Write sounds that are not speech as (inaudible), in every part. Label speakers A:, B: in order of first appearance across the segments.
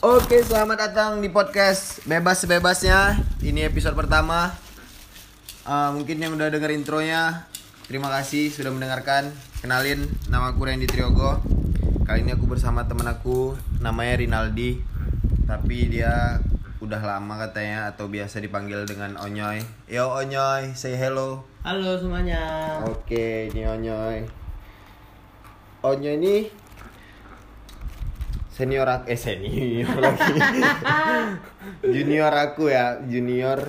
A: Oke, selamat datang di podcast Bebas Sebebasnya. Ini episode pertama. Eh, mungkin yang udah denger intronya, terima kasih sudah mendengarkan. Kenalin, nama aku Randy Triogo. Kali ini aku bersama temen aku, namanya Rinaldi. Tapi dia udah lama katanya atau biasa dipanggil dengan Onyoy. Yo Onyoy, say hello.
B: Halo semuanya.
A: Oke, ini Onyoy. Onyoy ini senior aku, eh senior
B: (laughs)
A: lagi. junior aku ya, junior.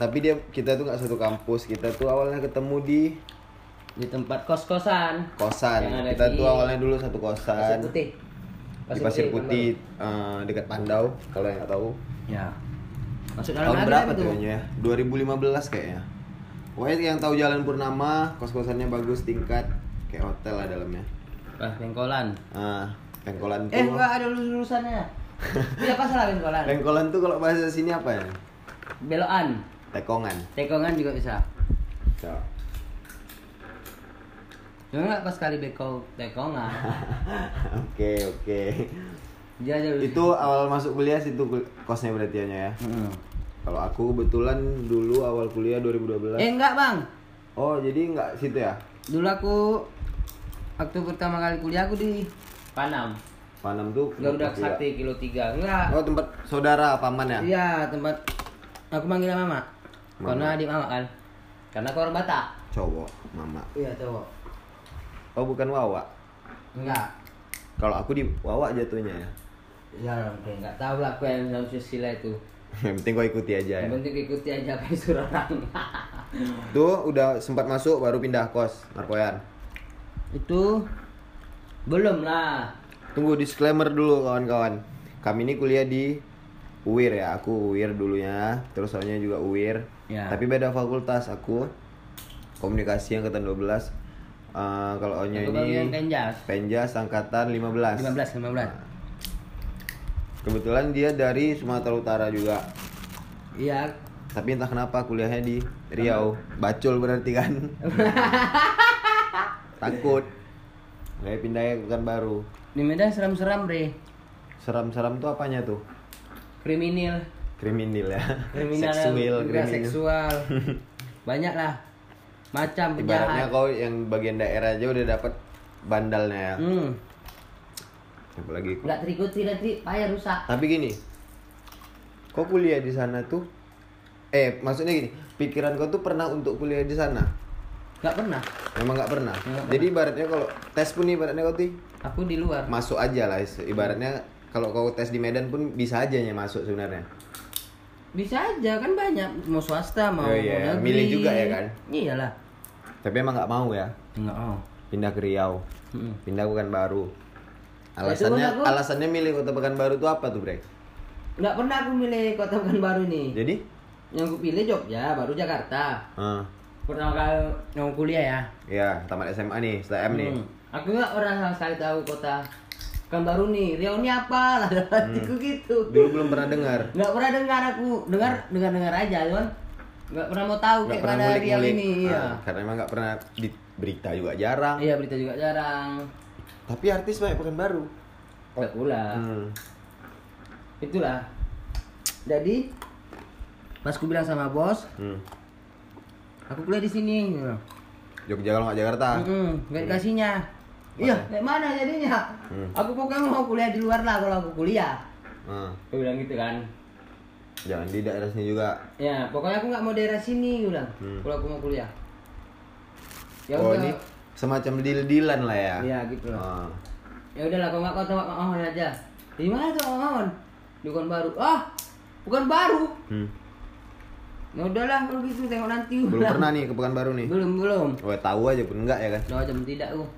A: Tapi dia kita tuh nggak satu kampus, kita tuh awalnya ketemu di
B: Di tempat kos-kosan. Yang
A: kosan.
B: ada
A: Kita
B: di
A: tuh awalnya dulu satu
B: Pasir
A: kosan.
B: putih.
A: Di Pasir Putih, eh, dekat Pandau kalau yang nggak tahu.
B: Bandung. Ya. Masuk dalam
A: Tahun
B: lagi
A: berapa
B: kan
A: tuh ya? 2015 kayaknya. Pokoknya yang tahu Jalan Purnama, kos-kosannya bagus tingkat kayak hotel lah dalamnya.
B: Wah, pengkolan.
A: Ah, pengkolan
B: Eh,
A: tuh.
B: enggak ada lulus lulusannya. Iya, apa salah pengkolan?
A: Pengkolan tuh kalau bahasa sini apa ya?
B: Belokan.
A: Tekongan.
B: Tekongan juga bisa.
A: So.
B: Cuma enggak pas kali beko tekongan.
A: Oke, oke.
B: Dia aja lulus.
A: Itu awal masuk kuliah situ kul- kosnya berarti Anya, ya.
B: Mm-mm.
A: Kalau aku kebetulan dulu awal kuliah 2012.
B: Eh, enggak, Bang.
A: Oh, jadi nggak situ ya?
B: Dulu aku waktu pertama kali kuliah aku di Panam.
A: Panam tuh.
B: Garuda
A: kuliah.
B: Sakti kilo 3. Enggak.
A: Oh, tempat saudara paman ya?
B: Iya tempat aku manggil mama. Karena adik mama kan. Karena aku orang Batak.
A: Cowok, mama.
B: Iya cowok.
A: Oh, bukan Wawa.
B: Enggak.
A: Kalau aku di Wawa jatuhnya ya. (laughs)
B: Ya oke enggak tahu lah aku yang dalam susila itu.
A: Yang penting kau ikuti aja ya.
B: Yang penting ikuti aja apa yang suruh orang. (laughs)
A: Tuh udah sempat masuk baru pindah kos, Narkoyan.
B: itu belum lah.
A: Tunggu disclaimer dulu kawan-kawan. Kami ini kuliah di UIR ya. Aku UIR dulunya, terus soalnya juga UIR.
B: Ya.
A: Tapi beda fakultas. Aku komunikasi angkatan 12. Eh, kalau Onyo
B: Aku bagian
A: ini
B: penjas.
A: Penjas angkatan 15.
B: 15
A: Ah.
B: 15.
A: Kebetulan dia dari Sumatera Utara juga.
B: Iya.
A: Tapi entah kenapa kuliahnya di Riau. Bacul berarti
B: (laughs)
A: kan. Takut. Kayak pindahnya ke Pekanbaru baru.
B: Di Medan seram-seram bre.
A: Seram-seram tuh apanya tuh?
B: Kriminal.
A: kriminal ya
B: Kriminal
A: seksual
B: juga
A: kriminal (laughs)
B: seksual. Banyak lah. Macam
A: ibaratnya
B: penjahat.
A: kau yang bagian daerah aja udah dapat bandalnya ya
B: Hmm.
A: apalagi ku-
B: Enggak terikuti nanti payah rusak.
A: tapi gini kau kuliah di sana tuh eh maksudnya gini pikiran kau tuh pernah untuk kuliah di sana
B: Enggak pernah.
A: memang nggak pernah
B: Nggak
A: jadi ibaratnya kalau tes pun ibaratnya kau tuh
B: Aku di luar.
A: masuk aja lah ibaratnya kalau kau tes di Medan pun bisa aja ya masuk sebenarnya
B: Bisa aja kan banyak mau swasta mau
A: Oh iya,
B: mau negeri.
A: milih juga ya kan?
B: Iyalah.
A: tapi emang nggak mau ya
B: Enggak mau.
A: pindah ke Riau
B: Mm-mm.
A: pindah bukan baru
B: Ya, itu
A: alasannya
B: kan aku-
A: alasannya milih kota Pekanbaru tuh apa tuh Brek?
B: Enggak pernah aku milih kota Pekanbaru nih.
A: jadi
B: Yang aku pilih Jogja, baru Jakarta.
A: ah,
B: Pertama kali yang kuliah ya.
A: ya tamat SMA nih STM nih
B: Hmm. Aku nggak pernah sama sekali tahu kota Pekanbaru nih. Riau ini apa? (laughs) Lah
A: Hmm.
B: dalam hatiku gitu.
A: dulu belum pernah dengar
B: Enggak pernah dengar aku. Dengar dengar dengar aja cuman enggak pernah mau tahu
A: nggak
B: kayak
A: pernah
B: mana
A: ngulik
B: Riau
A: ngulik
B: ini. Iya.
A: karena emang nggak pernah di berita juga jarang
B: Iya, berita juga jarang.
A: tapi artis banyak Pekanbaru
B: Enggak pula.
A: hmm.
B: itulah jadi pas aku bilang sama bos
A: Hmm.
B: aku kuliah di sini gitu.
A: Jogja kalau nggak Jakarta
B: Mm-mm, nggak dikasihnya iya dari mana jadinya
A: Hmm.
B: aku pokoknya mau kuliah di luar lah kalau aku kuliah
A: Ah,
B: aku bilang gitu kan
A: jangan di daerah sini juga
B: ya pokoknya aku nggak mau daerah sini aku bilang
A: Hmm.
B: kalau aku mau kuliah ya
A: oh
B: udah
A: ini semacam deal-dealan lah ya
B: Iya, gitu lah.
A: Ah.
B: ya udahlah kalau nggak kau tengok Mak Mahon aja di mana tuh Mak Mahon di bukan baru ah bukan baru
A: Hmm.
B: ya udahlah kalau gitu tengok nanti aku
A: belum
B: bilang.
A: pernah nih ke Pekanbaru nih
B: (laughs) belum belum
A: oh tahu aja pun enggak ya kan
B: Nah, jam tidak tuh.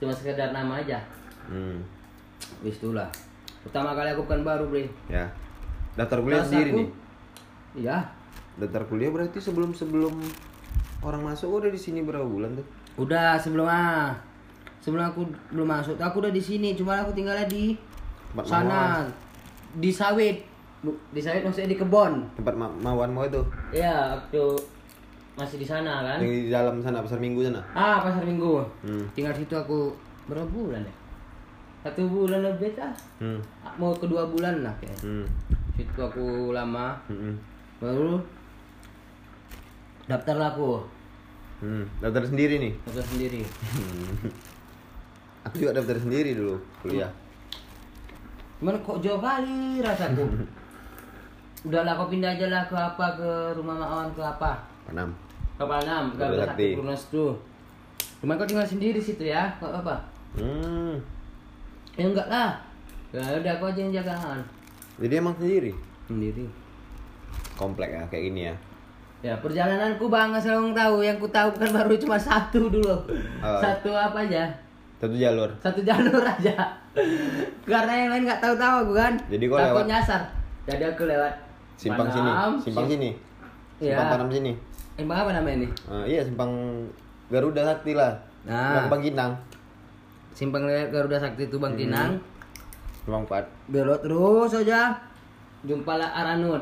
B: Cuma sekedar nama aja.
A: hmm.
B: Wis itulah. Pertama kali aku bukan baru, Bre.
A: ya daftar kuliah
B: Kelas
A: sendiri
B: aku-
A: nih
B: Iya.
A: daftar kuliah berarti sebelum sebelum orang masuk oh, udah di sini berapa bulan tuh
B: Udah sebelum ah. Sebelum aku belum masuk, tuh aku udah di sini, cuma aku tinggalnya di
A: Tempat
B: sana. Di sawit. Bu- Di sawit maksudnya di kebon.
A: tempat ma mawan mau itu
B: Iya, waktu masih di sana kan.
A: yang di dalam sana pasar minggu sana
B: Ah, pasar Minggu.
A: Hmm.
B: Tinggal situ aku berapa bulan ya? satu bulan lebih lah
A: Hmm.
B: mau kedua bulan lah kayaknya
A: Hmm.
B: situ aku lama
A: Hmm.
B: baru daftar lah aku
A: Hmm. Daftar sendiri nih.
B: daftar sendiri
A: Aku juga daftar sendiri dulu kuliah.
B: cuman kok jauh kali (laughs) rasaku udahlah kau pindah aja lah ke apa ke rumah mawan ke apa
A: Panam.
B: ke Palnam ke
A: Berbakti.
B: Sakti Purnas tuh cuman kau tinggal sendiri situ ya kok apa
A: Hmm.
B: ya enggak lah ya udah kau aja yang jagaan
A: Jadi emang sendiri.
B: sendiri
A: Komplek ya kayak gini ya.
B: ya perjalananku bangga selalu tahu yang ku tahu kan baru cuma satu dulu
A: Apa?
B: satu apa aja
A: Satu jalur.
B: satu jalur (laughs) aja karena yang lain nggak tahu-tahu aku kan
A: Jadi kau
B: takut
A: lewat?
B: nyasar jadi aku lewat
A: Simpang
B: Panam,
A: sini. Simpang
B: sim-
A: sini.
B: Iya.
A: Simpang Panam sini.
B: simpang apa namanya ini
A: Eh, iya simpang Garuda Sakti lah.
B: Nah.
A: Simpang Bangkinang.
B: simpang lewat Garuda Sakti itu
A: Hmm.
B: Bang Kinang
A: Simpang Pat.
B: belok terus aja jumpa lah Aranut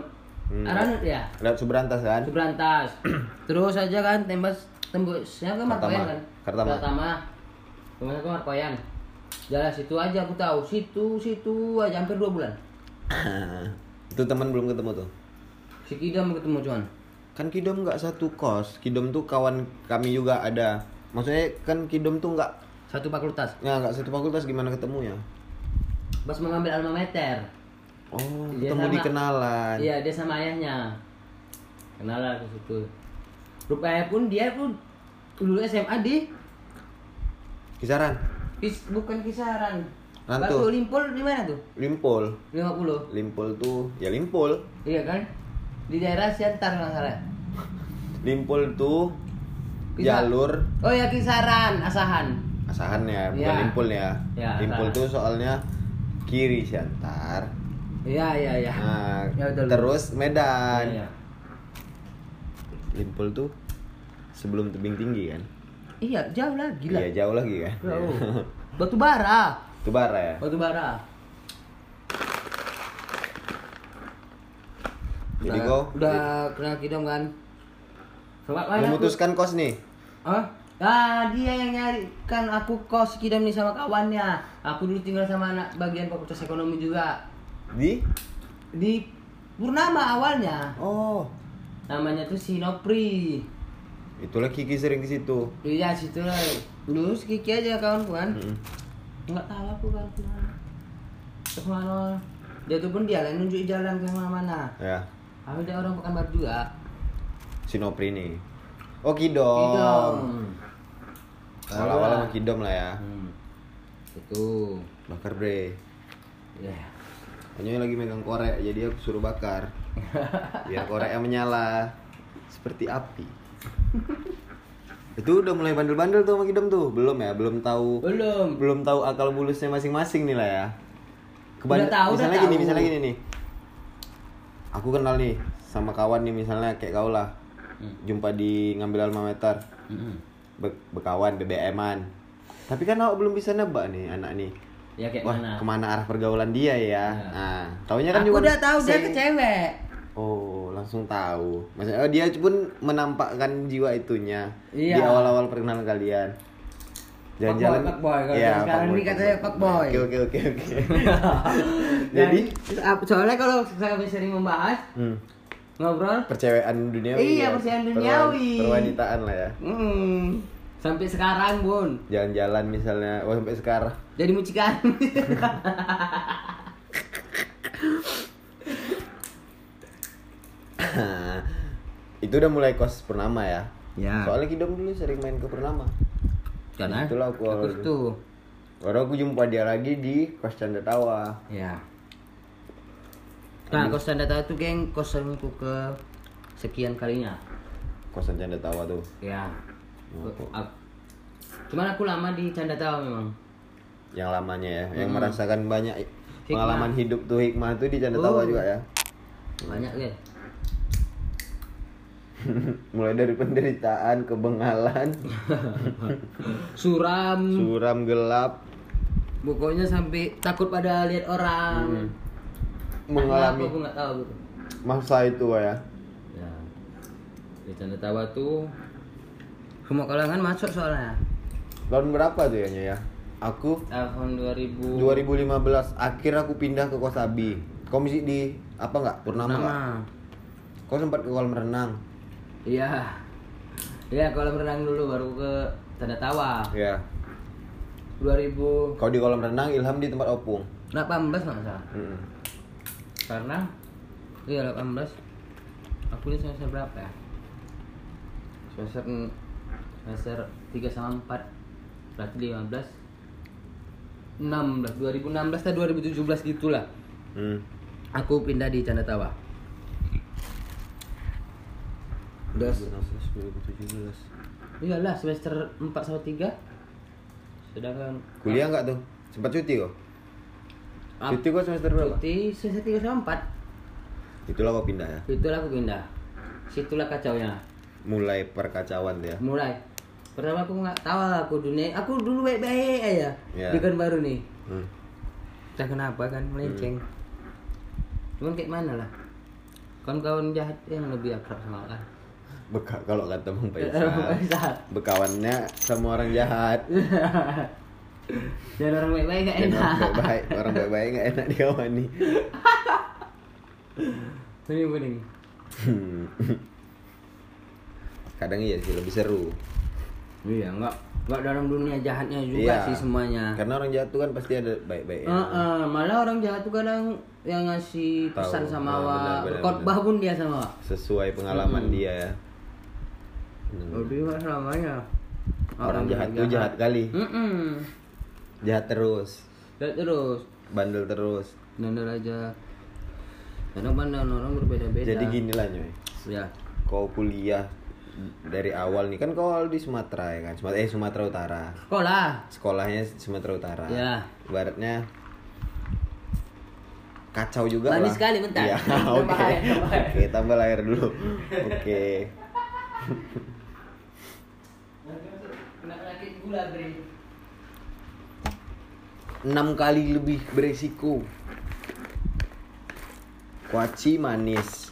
A: Hmm.
B: Aranut ya
A: Lewat Subrantas kan? (clears throat)
B: Subrantas terus aja kan tembus tembusnya ke Markoyan
A: Kartama.
B: kan
A: Kartama.
B: Kartama Tembusnya ke Markoyan jalan situ aja aku tahu situ situ aja hampir dua bulan Ah.
A: Itu teman belum ketemu tuh.
B: si Kidam ketemu cuman
A: Kan Kidom nggak satu kos. Kidom tuh kawan kami juga ada. Maksudnya kan Kidom tuh nggak
B: satu fakultas
A: ya nggak satu fakultas gimana ketemunya?
B: pas mengambil alma mater
A: Oh,
B: Iya,
A: ketemu
B: sama.
A: di kenalan.
B: iya dia sama ayahnya kenal lah ke situ rupanya pun dia pun dulu SMA di
A: Kisaran.
B: Kis, bukan kisaran
A: Rantu.
B: Batu Limpol di mana tuh
A: Limpol.
B: 50
A: Limpol tuh ya Limpol.
B: iya kan di daerah Siantar nggak salah
A: Limpol tuh
B: Bisa.
A: jalur
B: oh ya kisaran asahan
A: asahan ya, bukan
B: Iya.
A: limpul ya.
B: Iya,
A: limpul
B: asahan.
A: tuh soalnya kiri Siantar.
B: iya iya iya
A: Nah,
B: Ya, betul.
A: terus Medan.
B: Iya.
A: Limpul tuh sebelum tebing tinggi kan?
B: iya jauh lah gila
A: Iya, jauh lagi kan?
B: jauh
A: (laughs)
B: batu bara
A: Itu bara ya.
B: batu bara
A: Jadi
B: Nah,
A: kau
B: udah kenal kidam kan Sobat mana aku-
A: memutuskan kos nih.
B: Hah? Ah, dia yang nyari kan aku kos kidam nih sama kawannya. Aku dulu tinggal sama anak bagian fakultas ekonomi juga.
A: Di
B: Di Purnama awalnya.
A: Oh,
B: Namanya tuh Sinopri.
A: itulah Kiki sering ke situ.
B: Iya, situ lah. Dulu si Kiki aja kawan kan.
A: Mm-mm.
B: Enggak tahu aku kan kemana. Kemana. Dia tuh pun dia lah yang nunjuk jalan ke mana-mana.
A: Ya,
B: Aku dia orang Pekanbaru juga.
A: Sinopri nih. Oh, Kidom.
B: Kidam.
A: Awal-awal sama Kidom lah ya.
B: Hmm. Itu.
A: Bakar bre.
B: Ya.
A: Hanya lagi megang korek, jadi aku suruh
B: (laughs)
A: bakar. Biar koreknya menyala seperti api. (laughs) Itu udah mulai bandel-bandel tuh sama Kidom tuh. Belum ya, belum tahu
B: Belum.
A: belum tahu akal bulusnya masing-masing nih lah ya.
B: Udah tahu, udah
A: misalnya gini,
B: tahu.
A: misalnya gini nih. Aku kenal nih sama kawan nih misalnya kayak kau lah.
B: Hmm.
A: Jumpa di ngambil alma mater. Be- bekawan BBM-an. Tapi kan awak belum bisa nebak nih anak nih.
B: Ya kayak
A: Wah,
B: mana? Iya.
A: kemana arah pergaulan dia ya? Nah, taunya kan
B: aku
A: juga
B: udah tahu dia
A: sing-
B: ke cewek.
A: Oh, langsung tahu. Maksudnya oh, dia pun menampakkan jiwa itunya
B: Iya.
A: di awal-awal perkenalan kalian.
B: fuckboy, kalau
A: Iya,
B: zaman sekarang
A: fuckboy,
B: ini katanya fuckboy.
A: Oke, oke, oke,
B: (laughs)
A: oke. Jadi,
B: Dan, soalnya kalau saya sering membahas
A: hmm,
B: ngobrol,
A: percewaan duniawi. ya.
B: Iya, percewaan
A: Perwa-
B: duniawi.
A: Perwanitaan lah ya.
B: mm, sampai sekarang bun,
A: Jalan-jalan misalnya, wah sampai sekarang.
B: jadi mucikari.
A: itu udah mulai kos Purnama (laughs) ya.
B: Ya.
A: Soalnya Kidom dulu sering main ke Purnama.
B: Karena
A: Itulah aku
B: aku
A: awalnya.
B: itu.
A: Baru aku jumpa dia lagi di kos Canda Tawa.
B: Ya. Nah, kos tanda tahu itu geng kosanku ke sekian kalinya.
A: Kosan Canda Tawa tuh.
B: Ya.
A: Oh, kok.
B: Aku- Cuman aku lama di canda tahu memang.
A: yang lamanya ya, yang merasakan banyak i-
B: Hmm. Hikmah.
A: pengalaman hidup tuh hikmah tuh di canda tawa
B: Oh.
A: juga ya. (laughs)
B: Banyak ya.
A: Mulai dari penderitaan, kebengalan,
B: Hmm. Suram.
A: suram gelap,
B: Pokoknya sampai takut pada lihat orang. Kenapa
A: Hmm. mengalami
B: aku nggak tahu. gitu.
A: masa itu ya.
B: Ya. Di Canda Tawa tuh semua kalangan masuk soalnya.
A: Tahun berapa tuh ya Nyonya, ya? Aku
B: tahun 2000
A: 2015 akhir aku pindah ke Kosambi. Kau misi di apa nggak? Purnama nggak?
B: nama
A: Kau sempat ke kolam renang?
B: iya iya kolam renang dulu baru ke tanda tawa
A: Iya.
B: 2018
A: Kau di kolam renang, Ilham di tempat opung. Hmm.
B: nggak salah
A: Mm-mm.
B: karena iya 18 aku ini semester berapa ya semester semester 3 sama 4 berarti 15 16 2016 atau 2017 gitulah
A: Hmm.
B: aku pindah di Canda Tawa udah
A: 2017.
B: iyalah semester 4 sama 3 sedangkan
A: Kuliah nggak tuh? Sempat cuti kau?
B: Ah,
A: Cuti kau semester berapa?
B: cuti semester 3 sama 4
A: Itulah kau pindah ya.
B: itulah aku pindah situlah kacaunya
A: Mulai perkacauan tuh ya.
B: mulai pertama aku nggak tahu lah aku dunia aku dulu baik-baik aja
A: Iya.
B: bukan baru nih
A: Hmm.
B: entah kenapa kan melenceng cuman kayak mana lah kawan-kawan jahat yang lebih akrab sama kan
A: Beka kalau kata
B: (laughs)
A: Bang Faisal.
B: Saat.
A: Bekawannya sama orang jahat.
B: dan orang baik-baik nggak
A: Dan
B: enak
A: orang baik-baik, orang baik-baik nggak enak diawani.
B: bening-bening
A: Hmm. Kadang iya sih lebih seru.
B: iya nggak nggak dalam dunia jahatnya juga
A: Iya.
B: sih semuanya
A: Karena orang jahat tuh kan pasti ada baik-baiknya.
B: Heeh, malah orang jahat tuh kadang yang ngasih
A: Tahu.
B: pesan sama
A: Nah,
B: awak.
A: benar, benar,
B: khotbah pun dia sama awak.
A: Sesuai pengalaman
B: Mm-mm.
A: dia ya. Hmm.
B: lebih nggak selamanya
A: Orang jahat tuh jahat kali.
B: Hmm. Mm-mm.
A: Jahat terus.
B: Dan terus
A: Bandel terus.
B: dandel aja. Karena pandangan orang berbeda-beda.
A: Jadi gini lah Nyoy.
B: Ya.
A: Kau kuliah dari awal nih kan kau awal di Sumatera ya kan. Sumatera eh Sumatera Utara.
B: Sekolah.
A: Sekolahnya Sumatera Utara.
B: Ya.
A: Ibaratnya kacau juga lah.
B: Manis sekali, bentar.
A: Iya,
B: (laughs) Tambah
A: oke.
B: air, tambah air.
A: Oke, tambah air dulu. Oke.
B: Kena penyakit gula bre.
A: enam kali lebih beresiko. Kuaci manis,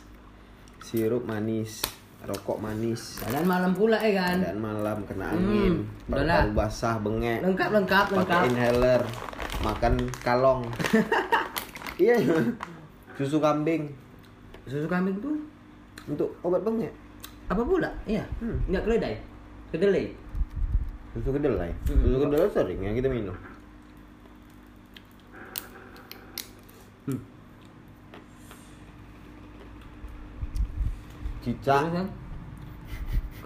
A: sirup manis, rokok manis,
B: Dan malam pula ya kan.
A: dan malam kena angin,
B: Hmm, udahlah.
A: paru basah bengek,
B: Lengkap lengkap lengkap.
A: pakai inhaler, makan
B: (laughs)
A: kalong. iya, susu kambing
B: Susu kambing tuh
A: untuk obat bengek,
B: apa pula? Iya.
A: Hmm.
B: Enggak keledai. Kedelai.
A: susu kedelai,
B: Hmm.
A: susu kedelai sering yang kita minum. Hmm. Cicak,
B: Terus kan?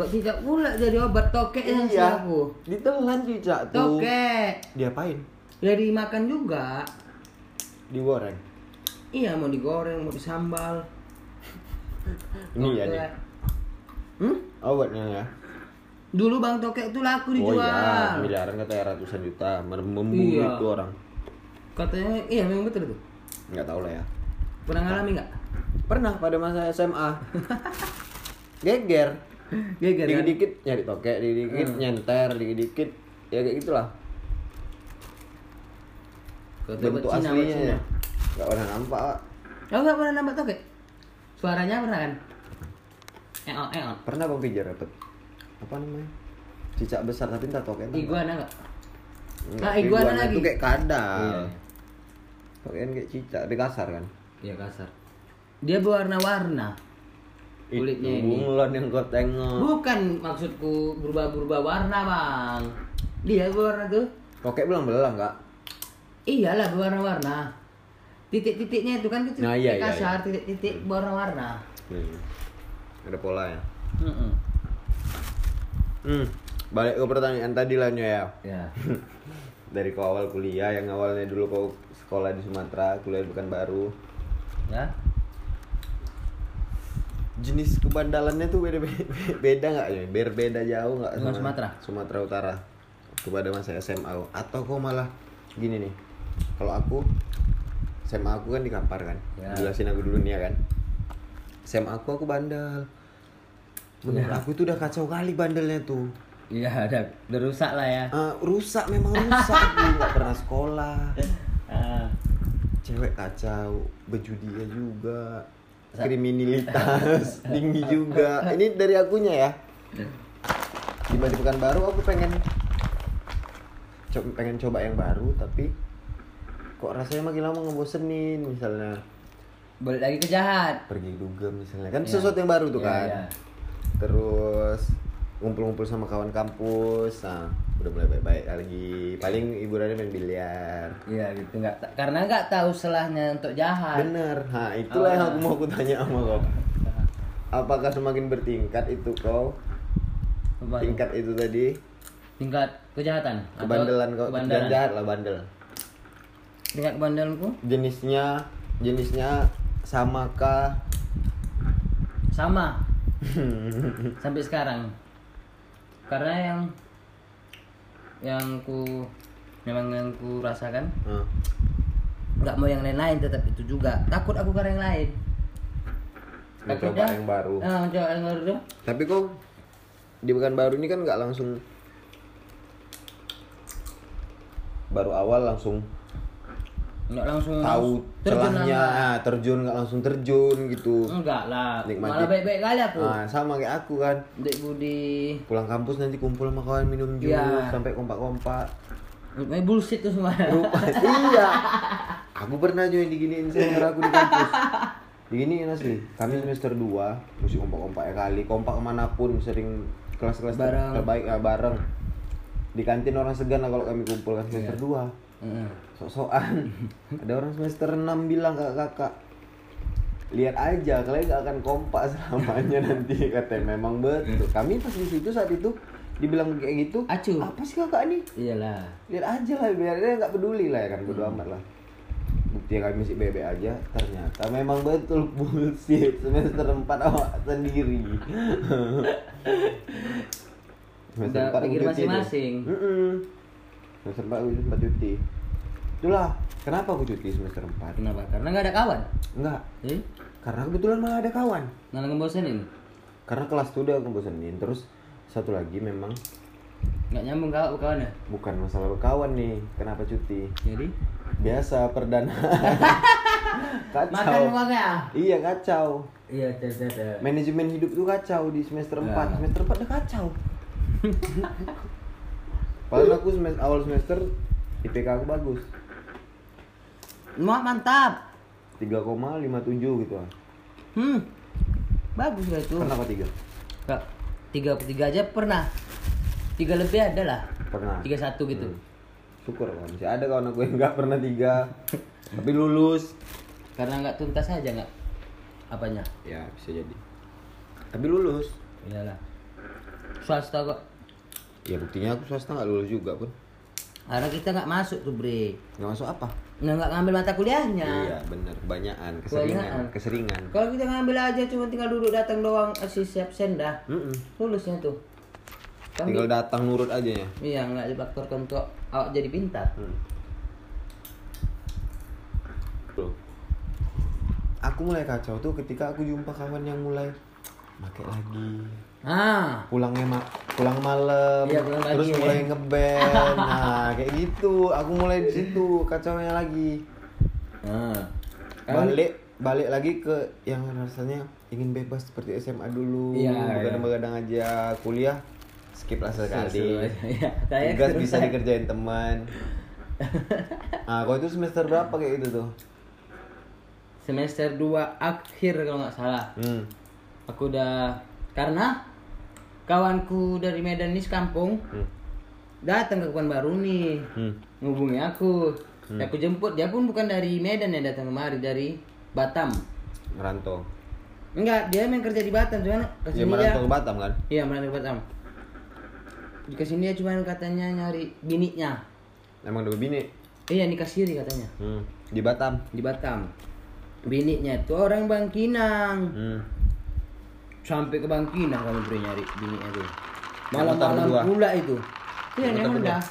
B: Kok tidak pula jadi obat tokek yang
A: Iya.
B: aku?
A: Ditelan cicak tuh.
B: Tokek.
A: Diapain?
B: Ya dimakan juga.
A: Digoreng.
B: Iya mau digoreng, mau disambal.
A: Ini ya nih.
B: Tokek. Hmm?
A: Obatnya ya.
B: Dulu Bang Tokek itu laku
A: Oh
B: dijual.
A: iya, miliaran katanya ratusan juta, Mem- memburu
B: Iya.
A: itu orang.
B: Katanya iya memang betul itu.
A: Nggak tahu lah ya.
B: Pernah ngalami nggak? (laughs)
A: Pernah pada masa (laughs) SMA. Geger. Iya
B: Geger kan?
A: Dikit-dikit nyari tokek, dikit-dikit nyenter, dikit-dikit ya kayak gitulah.
B: Kata
A: Bentuk
B: obat Cina, obat Cina.
A: aslinya ya. Nggak pernah nampak, Pak.
B: Oh nggak pernah nambah tokek? Suaranya pernah kan? Eon eon.
A: Pernah Bang pijar dapat. Apa namanya? Cicak besar tapi entah tokek. entah
B: Iguana nggak?
A: Enggak,
B: Ah, iguana lagi.
A: Itu kayak kadal.
B: Iya, iya.
A: Pokoknya kayak cicak, tapi kasar kan.
B: Iya kasar. Dia berwarna-warna.
A: Itu
B: Kulitnya ini.
A: bunglon yang kau tengok.
B: Bukan maksudku berubah-berubah warna bang. Dia berwarna tuh.
A: Kokek belum belang enggak?
B: Iyalah berwarna-warna. Titik-titiknya itu kan titik
A: Nah, iya, iya,
B: kasar, titik-titik berwarna-warna. Hmm.
A: Ada pola ya.
B: Mm-mm.
A: Hmm. Balik ke pertanyaan tadi lah Nyo, ya.
B: Ya.
A: Dari kau awal kuliah yang awalnya dulu kau sekolah di Sumatera, kuliah bukan baru.
B: Ya.
A: Jenis kebandalannya tuh beda beda nggak ya? Berbeda jauh nggak
B: Dengan Sumatera?
A: Sumatera Utara kepada masa SMA kau? atau kau malah gini nih? Kalau aku SMA aku kan di Kampar kan,
B: Ya.
A: jelasin aku dulu nih ya kan. SMA aku aku bandel. Menurut
B: Ya.
A: aku tuh udah kacau kali bandelnya tuh.
B: Iya, udah, udah rusak lah ya.
A: Eh, rusak memang rusak aku nggak pernah sekolah.
B: Ah,
A: Cewek kacau, berjudia juga, kriminalitas tinggi juga. Ini dari akunya ya. di Pekanbaru aku pengen co- pengen coba yang baru tapi kok rasanya makin lama ngebosenin misalnya
B: balik lagi ke jahat
A: pergi dugem misalnya kan
B: Iya.
A: sesuatu yang baru tuh
B: Iya,
A: kan
B: iya.
A: terus ngumpul-ngumpul sama kawan kampus nah udah mulai baik-baik lagi paling hiburannya main biliar
B: iya gitu nggak ta- karena nggak tahu selahnya untuk jahat
A: Bener, nah itulah
B: Ah.
A: yang aku mau aku tanya sama kau. Apakah semakin bertingkat itu kau?
B: Apa?
A: Tingkat itu tadi
B: tingkat kejahatan atau
A: kebandelan kau,
B: kebandelan
A: kebandelan jahat lah bandel.
B: tingkat kebandelanku
A: Jenisnya, jenisnya samakah?
B: (laughs) sama sampai sekarang karena yang yang ku memang yang ku rasakan
A: Hah.
B: nggak mau yang lain-lain tetap itu juga takut aku karena yang lain
A: Mau
B: Takut
A: coba
B: dah.
A: yang baru.
B: ah, mau coba yang baru dah.
A: Tapi kau di bukan baru ini kan nggak langsung baru awal langsung
B: nggak langsung
A: tahu
B: terjun Hmm.
A: celahnya
B: langsung.
A: ah, terjun nggak langsung terjun gitu
B: enggak lah
A: Nikmati.
B: malah baik-baik kali aku
A: Ah, sama kayak aku kan
B: Dek Budi
A: pulang kampus nanti kumpul sama kawan minum jus
B: Iya.
A: sampai kompak-kompak
B: Eh, bullshit tuh semua
A: Lupa. (laughs) iya aku pernah juga diginiin senior aku di kampus diginiin asli kami semester 2 mesti kompak-kompak ya kali kompak kemanapun sering kelas-kelas ter-
B: Bareng.
A: terbaik ah, bareng di kantin orang segan lah kalau kami kumpul kan semester
B: Iya.
A: 2
B: Heeh.
A: sok-sokan ada orang semester 6 bilang kakak kakak lihat aja kalian gak akan kompak selamanya nanti katanya memang betul kami pas di situ saat itu dibilang kayak gitu
B: Iya. Acuh.
A: apa sih kakak nih
B: iyalah
A: lihat aja lah biar dia nggak peduli lah ya kan
B: Hmm.
A: bodo amat lah bukti yang kami si bebek aja ternyata memang betul bullshit semester 4 awak
B: (laughs)
A: sendiri
B: Udah
A: empat aku
B: pikir
A: cuti tuh.
B: masing-masing.
A: Mm-mm. semester 4 aku sempat cuti itulah kenapa aku cuti semester 4
B: kenapa karena nggak ada kawan
A: enggak
B: eh
A: karena kebetulan malah ada kawan
B: malah ngebosenin
A: karena kelas tuh udah aku bosenin terus satu lagi memang
B: nggak nyambung kawan kawan ya
A: bukan masalah berkawan nih kenapa cuti
B: jadi
A: biasa
B: (laughs)
A: perdana
B: makan
A: kacau
B: uangnya
A: iya kacau
B: iya tes tes tes.
A: manajemen hidup tuh kacau di semester 4
B: Nah.
A: semester 4 udah (laughs) kacau padahal aku semes- awal semester IPK aku bagus
B: Wah, mantap
A: 3,57
B: Uh.
A: gitu lah
B: hmm bagus gak itu
A: pernah apa tiga
B: Kak, tiga tiga aja pernah tiga lebih ada lah
A: pernah
B: tiga satu gitu
A: Hmm. syukur lah masih ada kawan aku yang nggak pernah tiga tapi lulus
B: karena nggak tuntas aja nggak apanya
A: ya bisa jadi tapi lulus
B: iyalah swasta kok
A: ya buktinya aku swasta nggak lulus juga pun
B: karena kita nggak masuk tuh bre
A: nggak masuk apa
B: nah, nggak ngambil mata kuliahnya
A: iya bener kebanyakan keseringan
B: Kebanyakan.
A: keseringan
B: kalau kita ngambil aja cuma tinggal duduk datang doang eh, si siap sendah
A: Mm-mm.
B: lulusnya tuh Kan
A: Tinggal datang nurut aja ya.
B: Iya, nggak difaktorkan untuk awak jadi pintar.
A: Tuh. Aku mulai kacau tuh ketika aku jumpa kawan yang mulai pakai lagi
B: Ah,
A: pulangnya ma- pulang malam
B: Iya, pulang
A: terus
B: pagi,
A: mulai
B: ya. (laughs)
A: ngeband nah kayak gitu aku mulai di situ kacaunya lagi
B: ah.
A: balik balik lagi ke yang rasanya ingin bebas seperti SMA dulu
B: Iya,
A: begadang-begadang aja kuliah skip lah sekali
B: Seru aja, (laughs) iya. Saya
A: tugas
B: seru
A: bisa
B: saya.
A: dikerjain
B: (laughs)
A: teman nah kau itu semester berapa kayak gitu tuh
B: semester 2 akhir kalau nggak salah.
A: hmm.
B: Aku udah karena kawanku dari Medan ini sekampung
A: Hmm.
B: datang ke Pekanbaru nih.
A: Hmm.
B: Ngubungi aku. Aku jemput, dia pun bukan dari Medan yang datang kemari, dari Batam.
A: merantau
B: Enggak, dia main kerja di Batam, cuman ke
A: ya
B: sini dia.
A: merantau ke Batam kan
B: Iya, merantau ke Batam. Ke sini dia cuman katanya nyari bininya.
A: emang udah bini
B: Iya, nikah siri katanya.
A: hmm. di Batam
B: di Batam. Bininya itu orang Bangkinang.
A: hmm.
B: Sampai ke Bangkinang kami beri nyari bininya itu.
A: Yang
B: Malam-malam
A: motor berdua.
B: pula itu.
A: Yang
B: Iya, yang
A: motor berdua.
B: udah.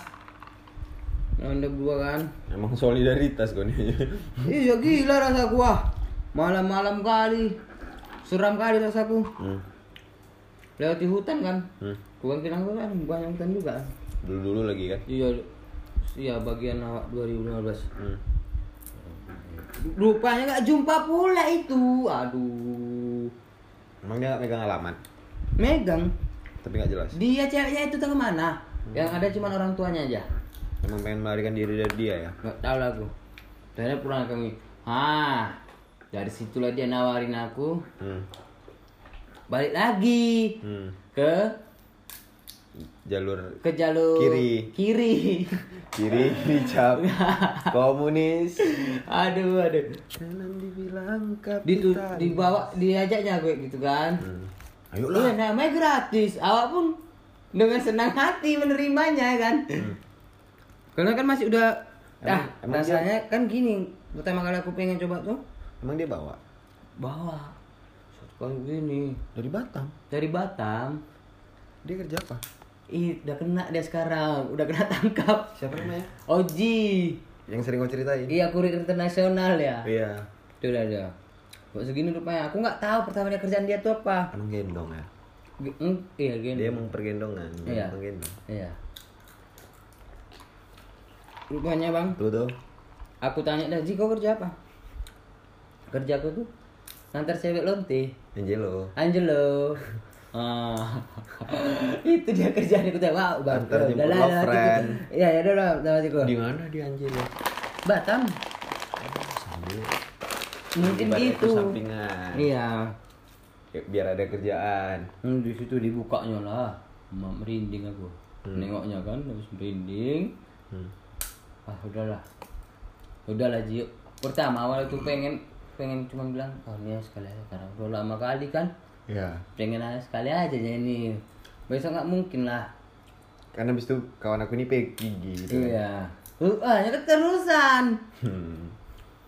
B: Yang udah berdua kan.
A: emang solidaritas kau (laughs) nih
B: Iya gila rasa gua. Malam-malam kali. Seram kali rasaku.
A: hmm.
B: Lewati hutan kan.
A: Hmm.
B: Ke Bangkinang itu kan banyak hutan juga.
A: dulu dulu lagi kan
B: Iya. Iya bagian awak 2015.
A: hmm.
B: Rupanya nggak jumpa pula itu. Aduh.
A: emang dia nggak megang alamat
B: Megang.
A: tapi nggak jelas
B: Dia ceweknya itu tuh kemana? Yang ada cuma orang tuanya aja.
A: Emang pengen melarikan diri dari dia ya?
B: Gak tau lah aku. Akhirnya pulang kami. Ah, dari situlah dia nawarin aku
A: Hmm.
B: balik lagi
A: Hmm.
B: ke
A: Jalur
B: ke jalur
A: Kiri.
B: Kiri. (laughs)
A: kiri (laughs) dicap komunis.
B: aduh, aduh.
A: Jangan dibilang
B: Ditu, dibawa diajaknya gue gitu kan.
A: Hmm. Ayo
B: Iya, namanya gratis. Awak pun dengan senang hati menerimanya kan. Karena kan masih udah
A: Hmm. Emang- emang
B: ah, rasanya kan gini, pertama kali aku pengen coba tuh
A: Emang dia bawa?
B: bawa shotgun gini
A: Dari Batam.
B: dari Batam.
A: Dia kerja apa?
B: Ih, udah kena dia sekarang, udah kena (laughs) tangkap.
A: Siapa namanya?
B: Oji.
A: Yang sering kau ceritain?
B: Iya, kurir internasional ya.
A: Iya.
B: Tuh udah udah. Kok segini rupanya? Aku nggak tahu pertama dia kerjaan dia tuh apa.
A: Anu gendong ya.
B: G- mm, iya, gini.
A: Dia emang pergendongan, bukan
B: Iya.
A: penggendong.
B: Iya. Rupanya bang,
A: Tuh tuh.
B: aku tanya dah, Ji kau kerja apa? Kerja aku tuh ngantar cewek lonte.
A: Angelo.
B: Angelo.
A: (laughs)
B: Ah. (laughs) itu dia kerjaan aku tuh wow bang
A: Ngantar jemput
B: Udah lah, udah lah,
A: girlfriend.
B: cukup. iya ya udah udah udah cukup.
A: Di mana dia Angelo?
B: Batam
A: Sambil.
B: mungkin
A: Ibaratnya itu
B: gitu
A: Sampingan.
B: iya
A: Ya, Biar ada kerjaan.
B: Hmm, di situ dibukanya lah Mak merinding aku nengoknya kan habis merinding
A: Hmm.
B: ah udahlah udahlah Ji pertama awal itu pengen pengen cuma bilang oh ini aja sekali aja karena udah lama kali kan
A: Ya.
B: pengen aja sekali aja jadi besok nggak mungkin lah
A: Karena abis itu kawan aku ini gigi gitu. kan.
B: iya lu ah ini keterusan
A: Hmm.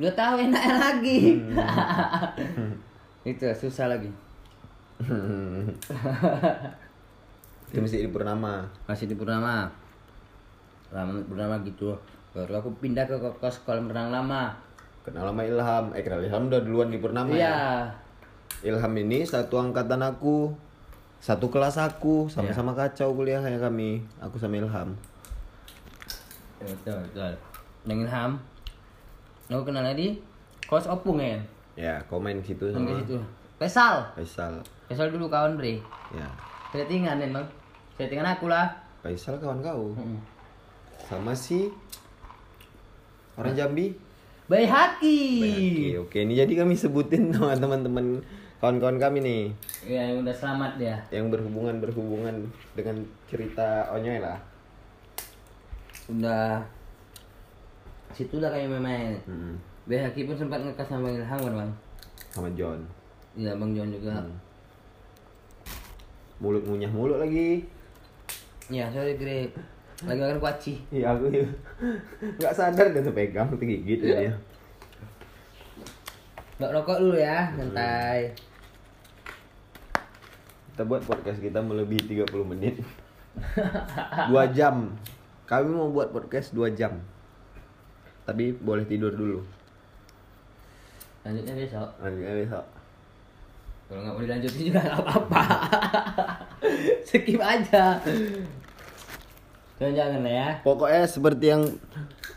B: udah tahu enaknya lagi (laughs) itu susah lagi
A: itu mesti di Purnama.
B: masih di Purnama lama Purnama gitu baru aku pindah ke kos kolam renang lama
A: Kenal sama Ilham. Eh kenal Ilham udah duluan di Purnama ya.
B: iya
A: Ilham ini satu angkatan aku, satu kelas aku,
B: Ya.
A: sama-sama kacau kuliahnya kami. Aku sama Ilham.
B: betul betul dengan Ham aku kenal di kos opung ya
A: Ya, komen situ
B: yang ke
A: sama
B: situ Pesal
A: Faisal.
B: Pesal dulu kawan bre
A: Ya,
B: settingan ya bang settingan aku lah
A: Faisal kawan kau.
B: Mm-mm.
A: Sama si orang Jambi.
B: Bayi haki
A: Oke,
B: Iya.
A: oke. Ini jadi kami sebutin (laughs) sama teman-teman kawan-kawan kami nih
B: ya yang udah selamat dia
A: yang berhubungan berhubungan dengan cerita Onyoy lah.
B: udah situlah kami main
A: Mm-mm.
B: Bayi haki pun sempat ngekas sama Ilham kan bang
A: Sama John. Hmm.
B: iya bang John juga
A: Mm. Mulut ngunyah mulut lagi.
B: Ya, sorry Greg. Lagi makan kuaci.
A: Iya aku ya. (laughs) nggak sadar dia tuh pegang tuh gigit dia.
B: Nggak rokok dulu ya, santai.
A: Kita buat podcast kita melebihi 30 menit. (laughs) 2 jam. Kami mau buat podcast 2 jam. Tapi boleh tidur dulu.
B: Lanjutnya besok.
A: Lanjutnya besok.
B: Kalau nggak mau dilanjutin juga nggak apa-apa. (laughs) Skip aja. Jangan jangan lah ya.
A: Pokoknya seperti yang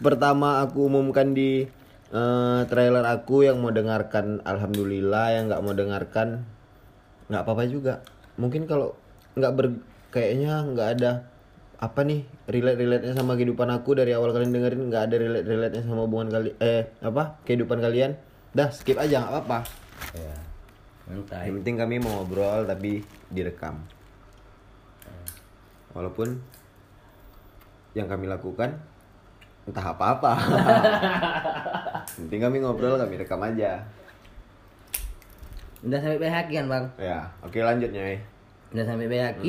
A: pertama aku umumkan di eh, trailer aku yang mau dengarkan alhamdulillah yang nggak mau dengarkan nggak apa-apa juga. Mungkin kalau nggak ber kayaknya nggak ada apa nih relate relate nya sama kehidupan aku dari awal kalian dengerin nggak ada relate relate nya sama hubungan kali eh apa kehidupan kalian dah skip aja nggak apa-apa
B: Ya. Santai.
A: yang penting kami mau ngobrol tapi direkam walaupun yang kami lakukan entah apa-apa Yang penting kami ngobrol kami rekam aja
B: Udah sampai BHK kan, Bang?
A: ya oke lanjutnya
B: Udah sampai BHK.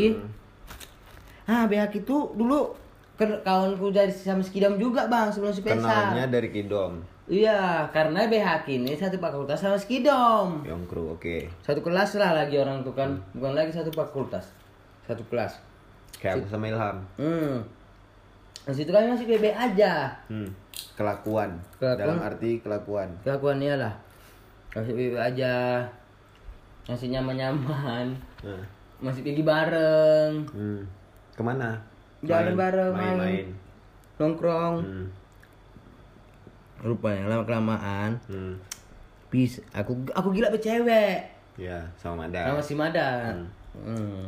B: Ah, BHK itu dulu ke- kawanku dari sama Skidam juga, Bang, sebelum si Pesal.
A: kenalnya dari Kidom
B: Iya, karena BHK ini satu fakultas sama Skidom.
A: Yongkru oke
B: satu kelas lah lagi orang tuh kan bukan lagi satu fakultas satu kelas
A: kayak aku sama Ilham
B: hmm di situ kami masih BB aja
A: hmm. kelakuan.
B: Kelakuan.
A: dalam arti kelakuan
B: kelakuannya lah masih BB aja masih nyaman nyaman
A: Nah.
B: masih pergi bareng
A: hmm. kemana
B: Jalan bareng, main.
A: main-main
B: nongkrong
A: hmm.
B: rupanya lama kelamaan
A: Hmm.
B: bis aku aku gila becewek
A: ya sama
B: sama
A: ada
B: si Mada hmm.